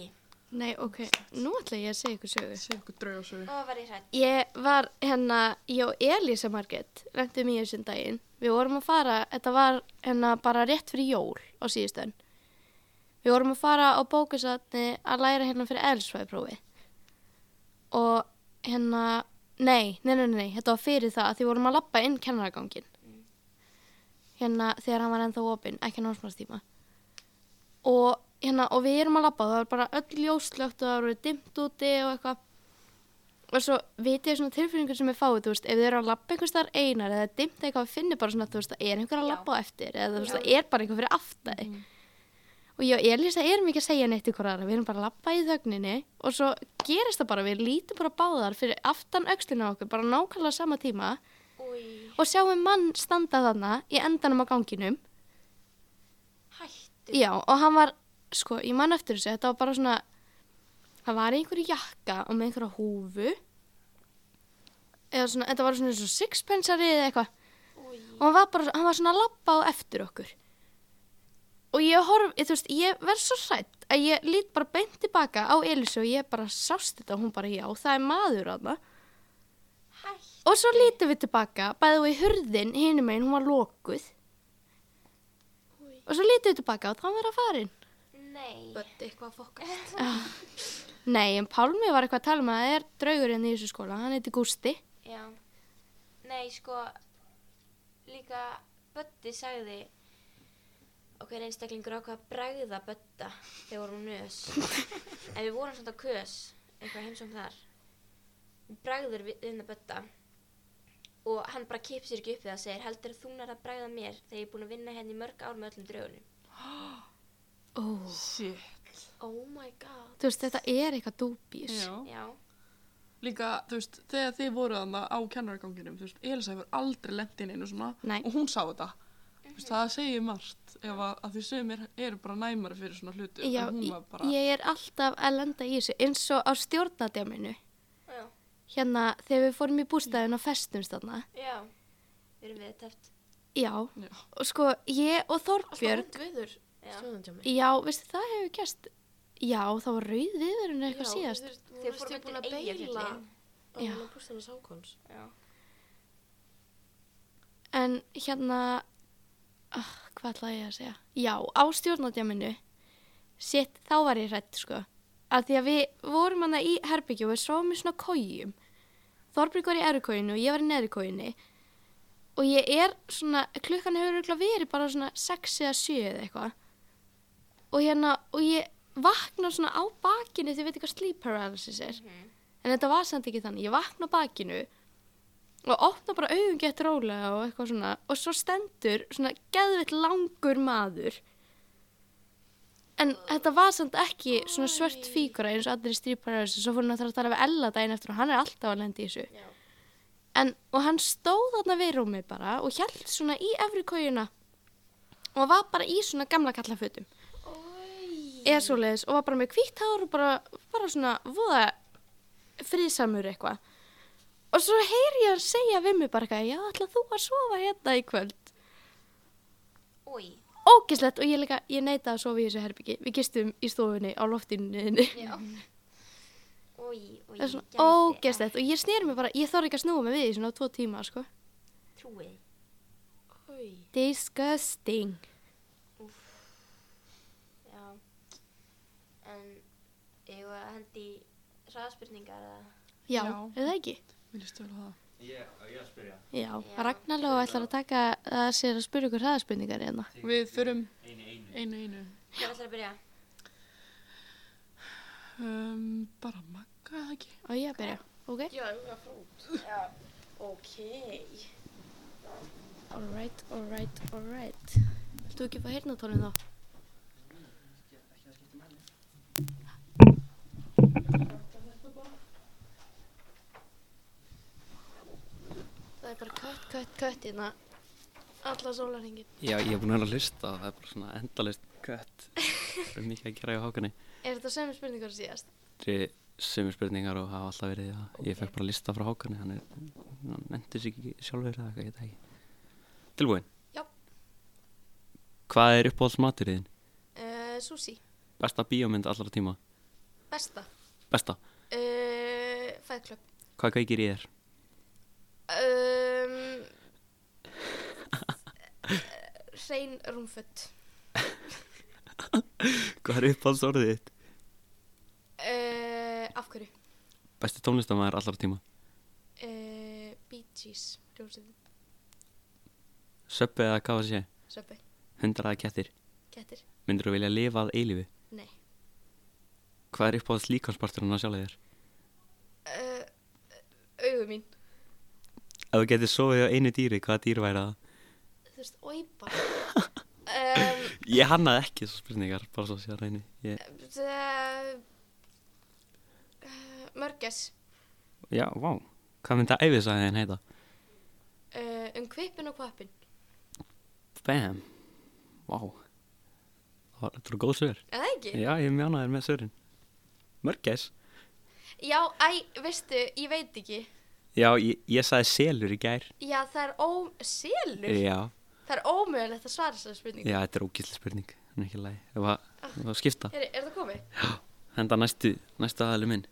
Nei, ok, nú ætla ég að segja ykkur sögu.
Segð ykkur draugasögu.
Og var ég hrætt.
Ég var hérna, ég og Elisa Margit lendum í þessum daginn. Við vorum að fara, þetta var hérna bara rétt fyrir jól á síðustöðun. Við vorum að fara á bókasatni að læra hérna fyrir elsfæðprófi. Og hérna, nei, nei, nei, nei, nei, þetta var fyrir það að því vorum að lappa inn kennaragangin. Hérna þegar hann var ennþá opinn, ekki námsmarstíma. Og hérna, og við erum að lappa, það var bara öll ljóslögt og það voru dimmt úti og eitthvað og svo veit ég svona tilfinningur sem ég fáið, þú veist, ef þið eru að labba einhvers þar einar eða dimmt eitthvað, finnir bara svona, þú veist, það er einhver að
Já.
labba á eftir eða þú veist,
Já. Mhm.
það er bara einhver fyrir aftæði. Og ég og Elisa erum ekki að segja neitt ykkur aðra, við erum bara að labba í þögninni og svo gerist það bara, við lítum bara báðar fyrir aftan aukslinu á okkur, bara nákvæmlega sama tíma
Úi,
og sjáum mann standa þarna í endanum á ganginum
hættu.
Já, og hann var, sko, ég man eftir þessu, þetta var bara svona, hann var í einhverju jakka og með einhverja húfu, eða svona, þetta var svona eins og sixpensari eða eitthvað,
Úi,
og hann var bara, hann var svona að labba á eftir okkur. Og ég horf, ég, þú veist, ég verð svo hrætt að ég lít bara beint tilbaka á Elisu og ég bara sást þetta og hún bara, já, það er maður að það.
hættu.
Og svo lítum við tilbaka, bæðið við hurðin hinum einn, hún var lokuð. Og svo lítum við tilbaka og það var að farin.
Nei.
Bötti eitthvað að fokast.
Nei, en Pálmi var eitthvað að tala um að það er draugurinn í þessu skóla, hann heiti Gústi.
Já. Nei, sko, líka Bötti sagði okkar einstaklingur ákvað að bræða Bötta þegar vorum
[laughs]
nös. en við vorum svona á kös, eitthvað heimsum þar. Við bræður við inn að Bötta og hann bara kipir sér ekki upp við það og segir heldur þú nær að bræða mér þegar ég er búin að vinna hérna í mörg ár með öllum draugunum.
Ó.
Shit.
Oh my god.
Þú veist, þetta er eitthvað dúbís.
Já.
Já.
Líka, þú veist, þegar þið voruð þarna á kennaraganginum, þú veist, Elisa hefur aldrei lent inn einu svona
Nei. Mhm.
og hún sá þetta. Þú veist, það segir margt ef að, að því sumir eru bara næmari fyrir svona hlutu.
Já,
en hún var
ég-
bara,
ég er alltaf að lenda í þessu, eins og á stjórnadjáminu.
Já.
Hérna, þegar við fórum í bústæðin og festumst þarna.
Já. Við erum við teft.
Já,
Já.
og sko, ég og
Alltaf
Þorbjörg,
hónd viður.
Já.
Stjóðandjámi.
já, veistu, það hefur gæst, já, það var rauð viðverun eitthvað síðast.
Þeir fórum undir búin að beila. Og
Já.
hún að búst hann að sákons.
Já.
En hérna, oh, hvað ætlaði ég að segja? Já, á stjórnadjáminu, sitt, þá var ég hrætt, sko. Að því að við vorum hana í herbyggju og við sáum í svona kójum. Þorbrík var í erukóinu og ég var í neðrikóinu. Og ég er svona, klukkan hefur örugglega verið bara svona 6 eða 7 eða eitthvað. Og hérna, og ég vakna svona á bakinu því ég veit ekki hvað sleep paralysis er.
Mhm.
En þetta var samt ekki þannig. Ég vakna á bakinu og opna bara augun gett rólega og eitthvað svona og svo stendur svona geðvitt langur maður en þetta var samt ekki svona svört fíkura eins og allir í strýparæðis svo fór hann að þarf að tala við Ella daginn eftir og hann er alltaf að lenda í þessu
Já.
en, og hann stóð þarna við rúmið bara og hjælt svona í efri kójuna og var bara í svona gamla kallafötum eða svo leiðis og var bara með hvítt hár og bara, bara svona voða friðsamur eitthvað og svo heyri ég að segja við mig bara eitthvað já, ætla þú að sofa hérna í kvöld
Úi.
ógislegt og ég, líka, ég neita að sofa í þessu herbyggi við gistum í stofunni á loftinniðinni
Já. Úi,
[laughs]
úi.
það er svona ógislegt og ég snýr mig bara ég þorði ekki að snúa mig við í svona tvo tíma sko.
Trúið.
Oi.
disgusting
Já, en ég var að hendi hraðspurningar að...
já,
Já.
er það ekki?
mér líst vel á það.
Ég, á ég að spyrja.
já,
Já.
Ragnar Lóa ætlar að taka að sér að spyrja ykkur hraðaspurningar hérna
Við förum
Einu, einu.
einu einu.
Hvað ætlar að byrja?
Um, bara magga eða ekki?
og ég að byrja, ok?
Já, ég var að fara út.
Já.
Ok.
Alright, alright, alright. Viltu ekki fá heyrnatónin þá?
Það er bara cut, cut, kött hérna alla sólarhingin.
Já, ég er búin að vera að hlusta og það er bara svona endalist kött. Það er mikið að gera í hákunni.
Er þetta sömu spurningar og síðast?
Þetta er sömu spurningar og hafa alltaf verið það. Ég fekk bara að lista frá hákunni, hann, er, hann nefndi sig ekki sjálfur eða eitthvað, ég veit það ekki. Tilbúin,
Já.
hvað er uppáhaldsmaturinn? þinn?
Uh, Susi,
Besta bíómynd allra tíma?
besta.
Besta.
Uh, Fæðklöpp.
Hvað gækir í þér?
Um, eh, Hrein rúmfött.
[laughs] Hvað er uppáhaldsorðið þitt?
Uh, af hverju?
Besti tónlistamæður allra tíma?
Uh, Bee Gees, hljómsveitin,
Söppi eða hvað það sé?
söpbi,
Hundar eða kettir?
kettir,
Myndur þú vilja lifa að eilífi?
nei.
Hvað er uppáhalds líkansparturinn á sjálfið þér?
Eh,
Uh, augu mín,
Ef þú getur sofið á einu dýri, hvaða dýr væri það?
þú veist, oipa.
[laughs]
um,
Ég hannaði ekki þessu spurningar, bara svo sé að reyni. Ég,
uh, uh, mörgess,
já, vá. Hvað myndi að æfisaði henn heita?
uh, um kvipin og kvapin.
Bam. Vá. Það var- Þetta eru góð sör.
Er það ekki?
Já, ég er mjög ánæður með sörin. Mörgæs.
Já, æ, veistu, ég veit ekki.
Já, ég, ég sagði selur í gær.
Já, það er ó... Selur?
Já,
Það er ómögulegt að svara þessari spurningu.
já, þetta er ógísli spurning. Það er ekki læg. Það var, það var skipta.
Er, er það komið?
Henda næstu, næstu aðalu minn.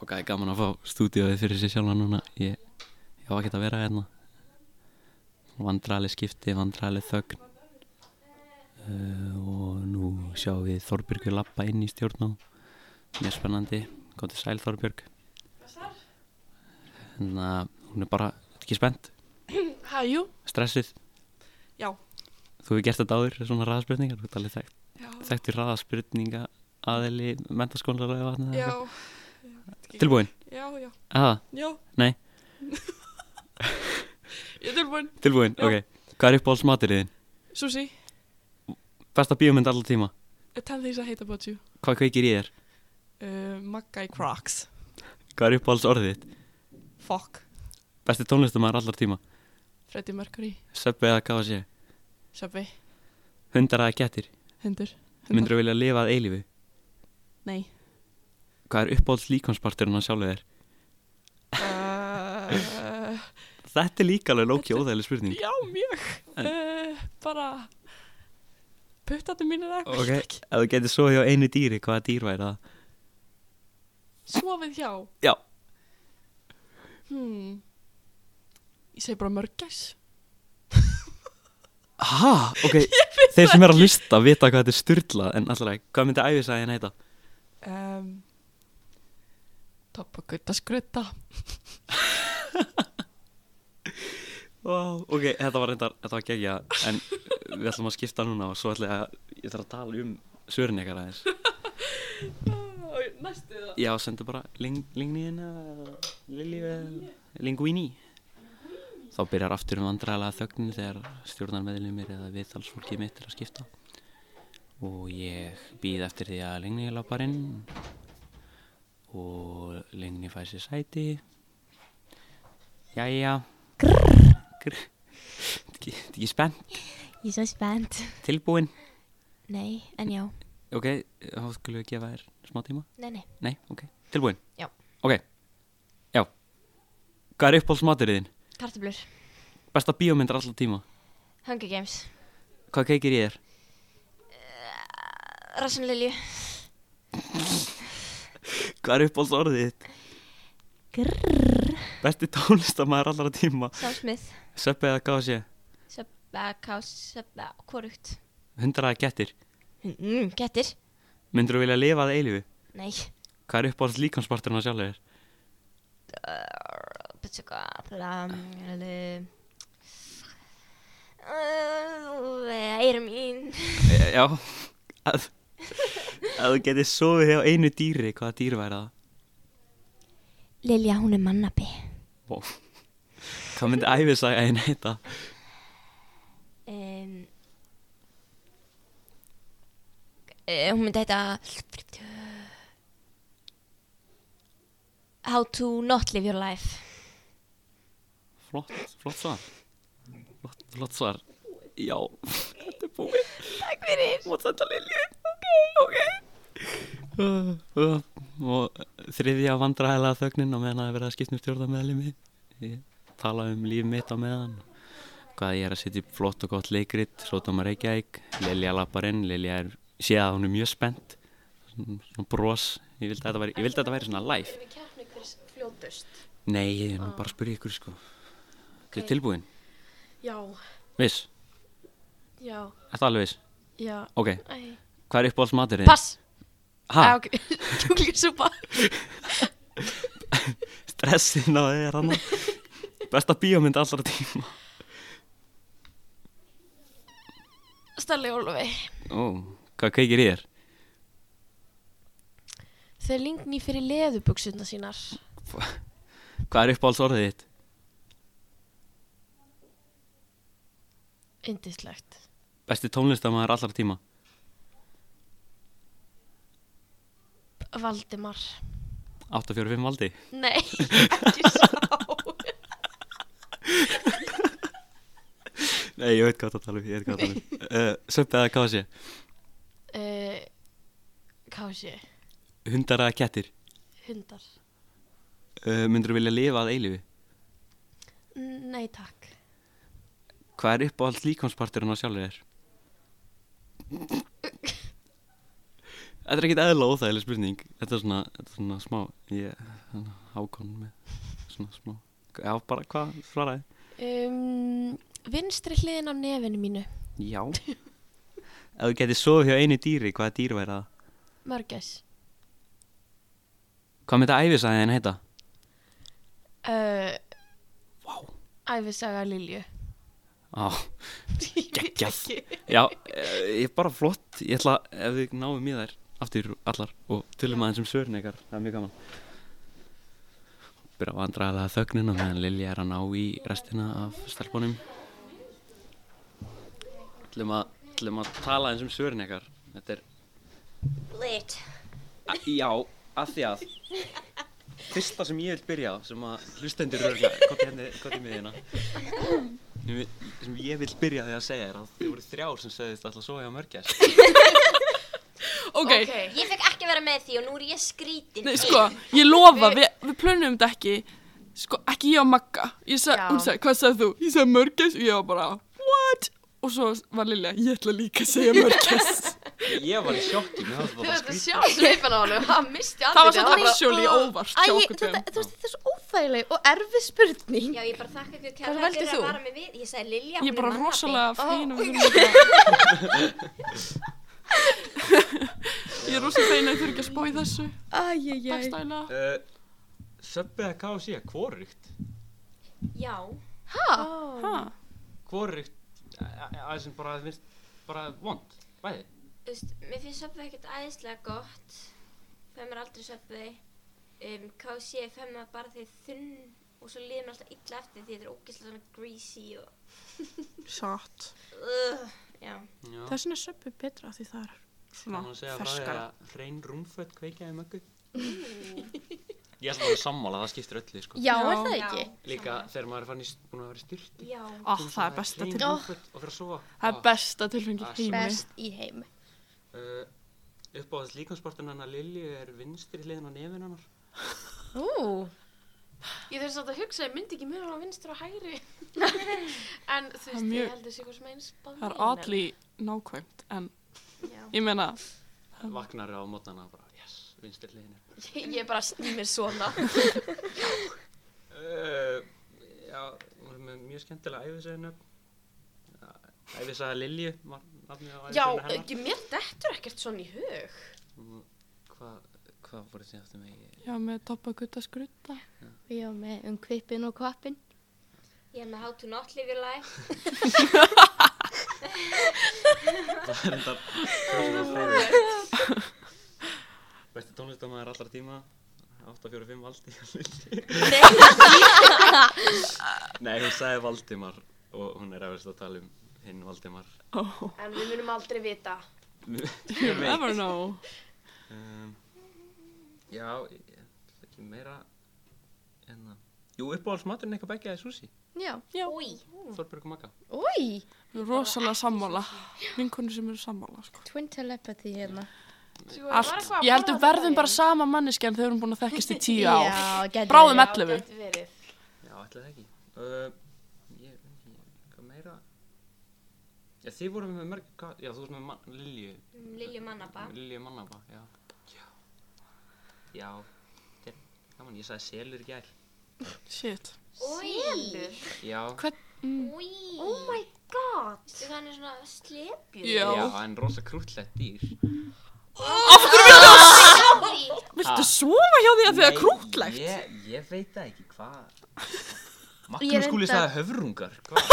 Og það er gaman að fá stúdíóið fyrir sig sjálfa núna. Ég, ég á ekki að vera hérna. Vandrali skipti, vandrali þögn. Uh, og nú sjáum við Þorbjörgu lappa inn í stjórn og mjög spennandi. Góti sæl Þorbjörg. Þannig að hún er bara ekki spennt,
Hæ, jú,
stressið.
já.
Þú hefur gert þetta áður, svona raðspurningar, þú ert alveg þekkt
Já,
þekktur hraðaspurninga aðili mentaskólar eða vatna
já,
Tilbúin?
já, já,
Aha,
já,
nei,
[laughs] ég er tilbúin.
tilbúin,
Já.
ok Hvað er uppáhalds maturinn? þinn?
Susi,
Besta bíómynd allar tíma
a ten things I hate about you.
Hvað kveikir í þér?
Uh, Magga í Crocs.
Hvað er uppáhalds orðið þitt?
Fuck.
Besti tónlistamæður allar tíma
Freddie Mercury.
Söppi eða hvað sé
Sjöfvi.
Hundar eða kettir
Hundur.
Myndur þú vilja lifa að eilífi?
Nei.
Hvað er uppáhalds líkonsparturinn á sjálfu þér?
Uh,
Þetta er líka alveg lóki
Þetta-
óþægileg spurning
já, mjög. Uh, bara puttandi mínir eða
Ok, ef þú getur svo hjá einu dýri, hvaða dýr væri það?
Sofið hjá.
Já,
Hmm. Ég segi bara mörgæs.
ha,
[laughs]
ok Þeir sem er að lista vita hvað þetta er styrla En allra, hvað myndi æfisæðin heita?
Um, Toppa gutta skrutta.
Wow, ok, þetta var reyndar, þetta var gegja en við ætlum að skipta núna og svo ætlum ég að, ég þarf að tala um svörin ykkar
[laughs]
aðeins.
Næstu það.
Já, sendu bara ling, lingniðin eða lilju eða linguini. Þá byrjar aftur um vandræðalega þögnin þegar stjórnarmeðlumir eða viðtalsfólkið mitt er að skipta. Og ég býð eftir því að lingni lapar inn og lingni fær sér sæti. Jæja. Grrr. Grrr. Þetta ekki- þetta ekki spennt.
Ég er svo spennt.
Tilbúin
Nei, en já.
Ok, þá skulum við gefa þér smá tíma
Nei, nei.
Nei, ok, tilbúin
Já.
Ok, já Hvað er uppáhaldsmaturinn þinn?
Kartablur.
Besta bíómyndir alltaf tíma
Hunger Games.
Hvað keikir í þér?
Rassan Lilju.
Hvað er uppáhaldsorðið þitt?
Grrrr.
Besti [laughs] tónlistamæður allra tíma
Sam Smith.
Söppi eða gáða sé
Söpba, kás, söpba, korugt.
Hundraða kettir
Mm, getur.
Myndur þú vilja lifa að eilífi?
Nei.
Hvað er uppáhalds líkansparturinn á sjálfur þér?
Bittu hvað. Eira mín.
E, já Að að þú getið sofið hjá einu dýri Hvaða dýr væri það?
Lilja, hún er mannabi.
Vó Hvað myndi æfisaga einn heita?
Um, uh, hún myndi heita How to not live your life
flott, flott svar flott, flott svar já, þetta er búið
Takk fyrir.
Mátt senda Lilju Ok, ok Og þriðja vandræðilega þögnin á meðan að vera að skipta um stjórna Ég tala um líf mitt á meðan Hvað ég er að setja upp flott og gott leikrit Sótama Reykjavík Lilja lappar inn Lilja er, sé að hún er mjög spennt Svona svona bros Ég vildi að þetta væri, ég vildi að þetta væri svona live
Við keppni hvers fljótust.
Nei, ég er nú bara að spyrja ykkur sko Þetta er
Ok.
tilbúin
Já,
Viss,
já,
þetta alveg viss
já.
Ok,
Æ,
hvað er uppáhalds maturinn?
pass.
Ha,
Ah, ok. [laughs] Kjúklingasúpa.
stressin á þér hann Besta bíómynd allra tíma
Stalli Ólfi.
Ó, hvað kveikir í þér?
Þau lingni fyrir leðubuksuna sínar.
Hvað er uppáhalds orðið þitt?
Indislegt.
Besti tónlistamæður allra tíma
Valdimar.
845 valdi
[laughs] Nei, ekki sá.
Nei, ég veit hvað það tala um, ég veit hvað það tala [laughs] um uh, Söppi eða kási
uh, Kási.
Hundar eða kettir
Hundar.
uh, Myndur þú vilja lifa að eilífi?
Nei, takk.
Hvað er uppáhalds líkonsparturinn á sjálfur þér? Þetta er ekkit eðlilega óþægileg spurning Þetta er svona, þetta er svona smá Ég, svona hákon með Svona smá Já, bara hvað svaraði?
Um, vinstri hliðin á nefinu mínu.
Já Ef þú getið sofið hjá einu dýri, hvaða dýr væri það?
Mörgæs.
Hvað myndi æfisæðin heita?
Uh,
Vá.
Æfisaga Lilju.
Á, geggjað Já, eh, ég er bara flott Ég ætla ef þið náum í þær aftur allar og tölum aðeins um svörin ykkar Það er mjög gaman Byrja að vandra aðlega þögnina meðan Lilja er að ná í restina af stelpunum Ætlum að, ætlum að tala aðeins um svörin ykkar Þetta er,
Lit.
a, já, að því að Fyrsta sem ég vil byrja á sem að hlustendur rörga Kottu henni, kottu í miðina sem ég- sem ég vil byrja á því að segja þér að þið voru þrjár sem sögðist alltaf að sofa hjá mörgjast
Ok,
Ég fekk ekki vera með því og nú er ég skrítin.
Nei, sko, ég lofa, við, við plönum þetta ekki Sko, ekki ég og Magga Ég sagði,
Já.
hún sagði, hvað sagði þú? Ég sagði mörgæs og ég var bara, what? Og svo var Lilja, ég ætla líka að segja mörgæs [laughs]
Ég var í sjokki, mér fannst það
Þú
bara
veist að
skrítið.
sjá sveipin á honum, hann misti
Það var
andlitið,
samt
hann bara-
actually óvart
Æ,
hjá okkur
þetta,
tveim.
þú veist, þetta er svo óþægileg og erfið spurning.
Já, ég bara þakka ykkur
Hvað
kærlega
veldur
fyrir
þú?
að vara með við. Ég sagði Lilja,
Ég er bara
mannafni.
rosalega fein
Ó.
að við þurfum þetta [laughs] Ég er rosalega fein að ég þurfi ekki að spá í þessu
Æjæjæj.
Dagstælega
Uh, Söbbi eða KFC, hvorugt?
Já.
Hæ?
Ha,
Hvorugt, aðeins sem bara finnst bara vond, bæði.
Þú veist, mér finnst söpvei ekkert æðislega gott. Fæði mér aldrei söpvei. Um, KC fæði mér bara því þunn og svo liður mér alltaf illa eftir því þetta er ógeðslega svona greasy og...
satt
Uh, já.
Já,
Þessin er söppi betra því það er
kannan
svona
segja frá því
ferskara
að hrein rúmfött kveikjaði
[laughs]
möggu. Ég ætla bara að sammála, það skiptir öllu, sko.
Já, er
Já.
það ekki?
Líka þegar maður er fann í, búin að vera í styrti.
Já.
Ah, það er besta tilfengi
tilfengi. Hrein rúmfött og fyrir að sofa.
Það er besta tilfengi
Ah,
í heimi
Best í heimi.
Uh, Uppáðast líkansportan hennar Lilju er vinstri hliðin á nefin hennar.
Ú. Ég þurfti samt að hugsa, ég myndi ekki mjög á vinstur
[laughs]
og hægri. en þú
er
veist,
mjög-
ég held þessi eitthvað sem eins báðið.
Það er alli nákvæmt en
Já.
ég meina
Vaknar á mótnana bara, yes, vinstri hliðin er.
Ég bara sný mér svona.
Uh, já, hún var með mjög skemmtilega æfisæðinöfn Æfisæða Lilju var nafnið á
Já, eh,
æfisæðinu hennar
ekki, mér dettur ekkert svona í hug.
Nú, Hvað hva voru þið um aftur með? Ég-
Já, með toppa gutta skrutta
Já, með um kvipin og kvapin.
Ég er með How to Not Live Your
[laughs]
Life.
Það er [laughs] þetta Hversu [laughs] Besti tónlistamæður allra tíma 845 Valdi [laughs] Nei, hún sagði Valdimar og hún er efast að tala um hinn Valdimar
Oh,
En við munum aldrei vita.
[laughs]
you never know
um, Já, ég ætla ekki meira en að Jú, uppáhaldsmaturinn eitthvað begja eða sushi.
Já.
Úi,
Þorberg og Magga.
Új,
Við erum rosalega sammála. Vinkunni sem eru sammála, sko.
twin telepathy hérna.
Allt. Ég held við verðum bara sama manneski en þau erum búin
[laughs]
að þekkast í tíu ár.
Já, getur
Bráðum
verið.
11.
verið.
Já, ætla það ekki. Uh, ég, ég, hvað meira? Já, þið vorum með mörg, hvað- já, þú varst með man, Lilju,
Lilju mannaba.
Lilju mannaba, já. Já. Já, þetta er gaman, ég sagði selur í gær.
Shit.
Úi,
Já,
úi. Oh my god. Vistu hvað hann er svona slepjur?
Já.
já, en rosa krútlegt dýr.
Viltu sofa hjá því að þið er
Nei,
krútlegt?
Ég, ég veit það ekki, hvað?
Ég
Magnús skúli
reyndar-
sagði höfrungar, hvað?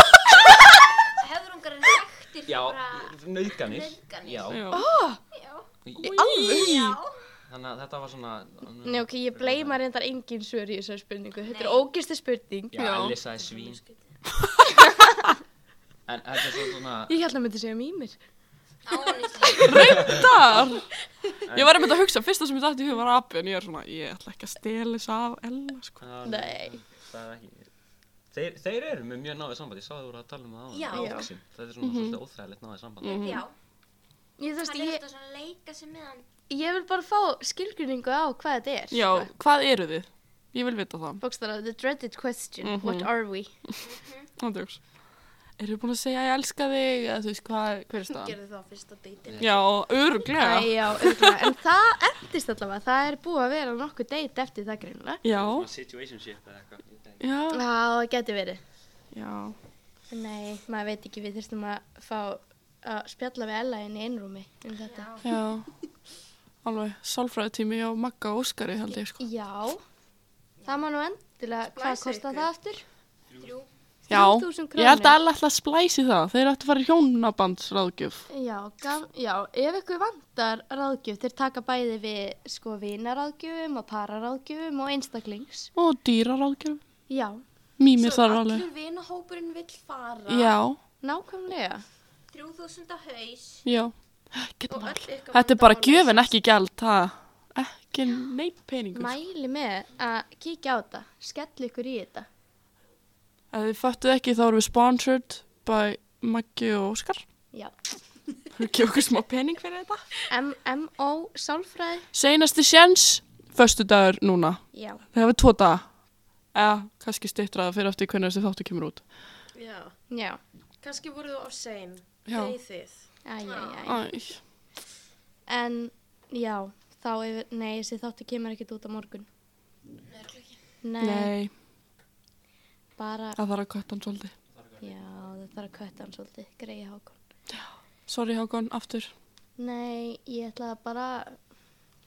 Höfrungar er þekktir
Já,
fyrir bara...
nöðganir.
nauðganir.
Já,
Já.
í-
Alveg?
Já.
þannig að þetta var svona...
Nei, ok, ég bleima reyndar engin svör í þessari spurningu. Þetta er
Nei.
ógistu spurning.
Já,
Já.
Elli sagði svín. En þetta er svo svona...
Ég held að myndi segja um mýmir.
Ánýslega.
Þar. Ég var einmitt að hugsa, fyrsta sem ég dætti í hug var api en ég er svona, ég ætla ekki að stela þess af Ella, sko.
Já,
Nei.
Það er ekki... Þeir, þeir eru með mjög náðið samband, ég sá að þú voru að tala um það áðan.
Já. Mhm.
í oxin. Það er svona svolítið óþræðilegt náðið samband.
Já.
Ég, þú Mm. veist,
Hann er
ég,
alltaf svona að leika sig með hann.
ég vil bara fá skilgrinningu á hvað þetta er.
Já, hvað eru þið? Ég vil vita það.
Bókstara, the dreaded question,
Mhm.
what are we?
Andjóks. Eru þið búin að segja að ég elska þig, eða þú veist hvað, hver er staðan?
Gerðu það á fyrsta deytin.
Já, öruglega.
Æ, já, örugglega. en það endist allavega, það er búið að vera nokkuð deitt eftir það greinlega.
Já,
Svona situationship eða eitthvað. ég veit ekki.
já,
Já, það getur verið.
já.
Nei, maður veit ekki, við þurftum að fá að spjalla við Ella inn í einrúmi um þetta.
Já, alveg, sálfræðutími á Magga og Óskari held ég sko.
Já, það má nú endilega, hvað
Splæsa
kostar
ykkur.
það aftur?
Þrjú.
Já,
3.000
ég held
krónur.
að alla ætla að splæsi það, þeir ættu að fara í hjónabandsráðgjöf.
Já, gam, já, ef ykkur vantar ráðgjöf, þeir taka bæði við sko vinaráðgjöfum og pararáðgjöfum og einstaklings.
Og dýraráðgjöf,
Já,
mýmir þar alveg.
Allur vinahópurinn vill fara.
Já,
nákvæmlega.
Þrjú þúsund á haus.
já,
Og
getur maður.
öll ykkar
Þetta er bara
vandamál
gjöfin, ekki gjald, það. Ekki neitt peningur. Mæ.
Mæli með að kíkja á þetta, skell ykkur í þetta.
Ef þið fattuð ekki þá erum við sponsored by Maggi og [laughs] Óskar.
Já,
Þau gefur okkur smá pening fyrir þetta.
MMO sálfræði,
Seinasti sjens, föstu dagur núna.
já.
Þið hafið tvo daga. Eða, kannski stýttraða fyrir eftir hvernig þessi þáttu kemur út.
leyst. Já,
Já,
kannski voru þú á sein.
Já.
Deyð þið.
æjæjæj.
Æ,
En, já, þá yfir, nei, þessi þáttu kemur ekkert út á morgun. Nei,
nei,
bara,
það þarf að kvæta hann svolítið.
já, það þarf að kötta hann svolítið, greiði hákon.
Sorry Hákon, aftur.
Nei, ég ætlaði bara,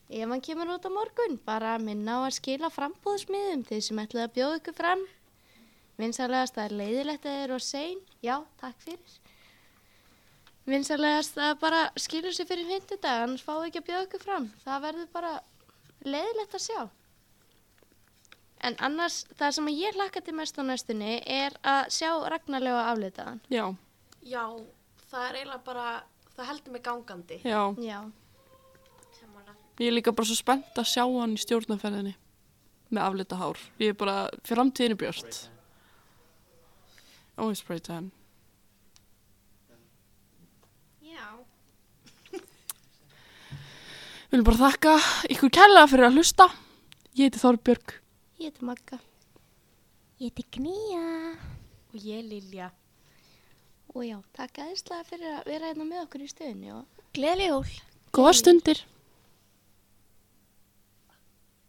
ef hann kemur út á morgun, bara minna á að skila frambúðsmiðum þeir sem ætlaði að bjóða ykkur fram. Vinsalegast að leiðilegt að þeir eru og sein, já, takk fyrir. Vinsalegast að bara skilur sér fyrir fyndudag, annars fáu ekki að bjóða ykkur fram. Það verður bara leiðilegt að sjá. En annars, það sem ég hlakka til mest á næstunni er að sjá ragnarlega aflitaðan.
Já,
Já, það er eiginlega bara, það heldur mig gangandi.
já.
Já,
Sammála.
Ég er líka bara svo spennt að sjá hann í stjórnaferðinni. Með aflita hár. Ég er bara, framtíðin er björt. Ó, ég spray tan.
Já.
Við viljum bara þakka ykkur kærlega fyrir að hlusta. Ég heiti Þorbjörg.
ég heiti Magga.
Ég heiti Gnýja.
Og ég Lilja.
Og já, takk aðeinslega fyrir að vera hérna með okkur í stöðunni og
Gleðileg jól.
Góða stundir.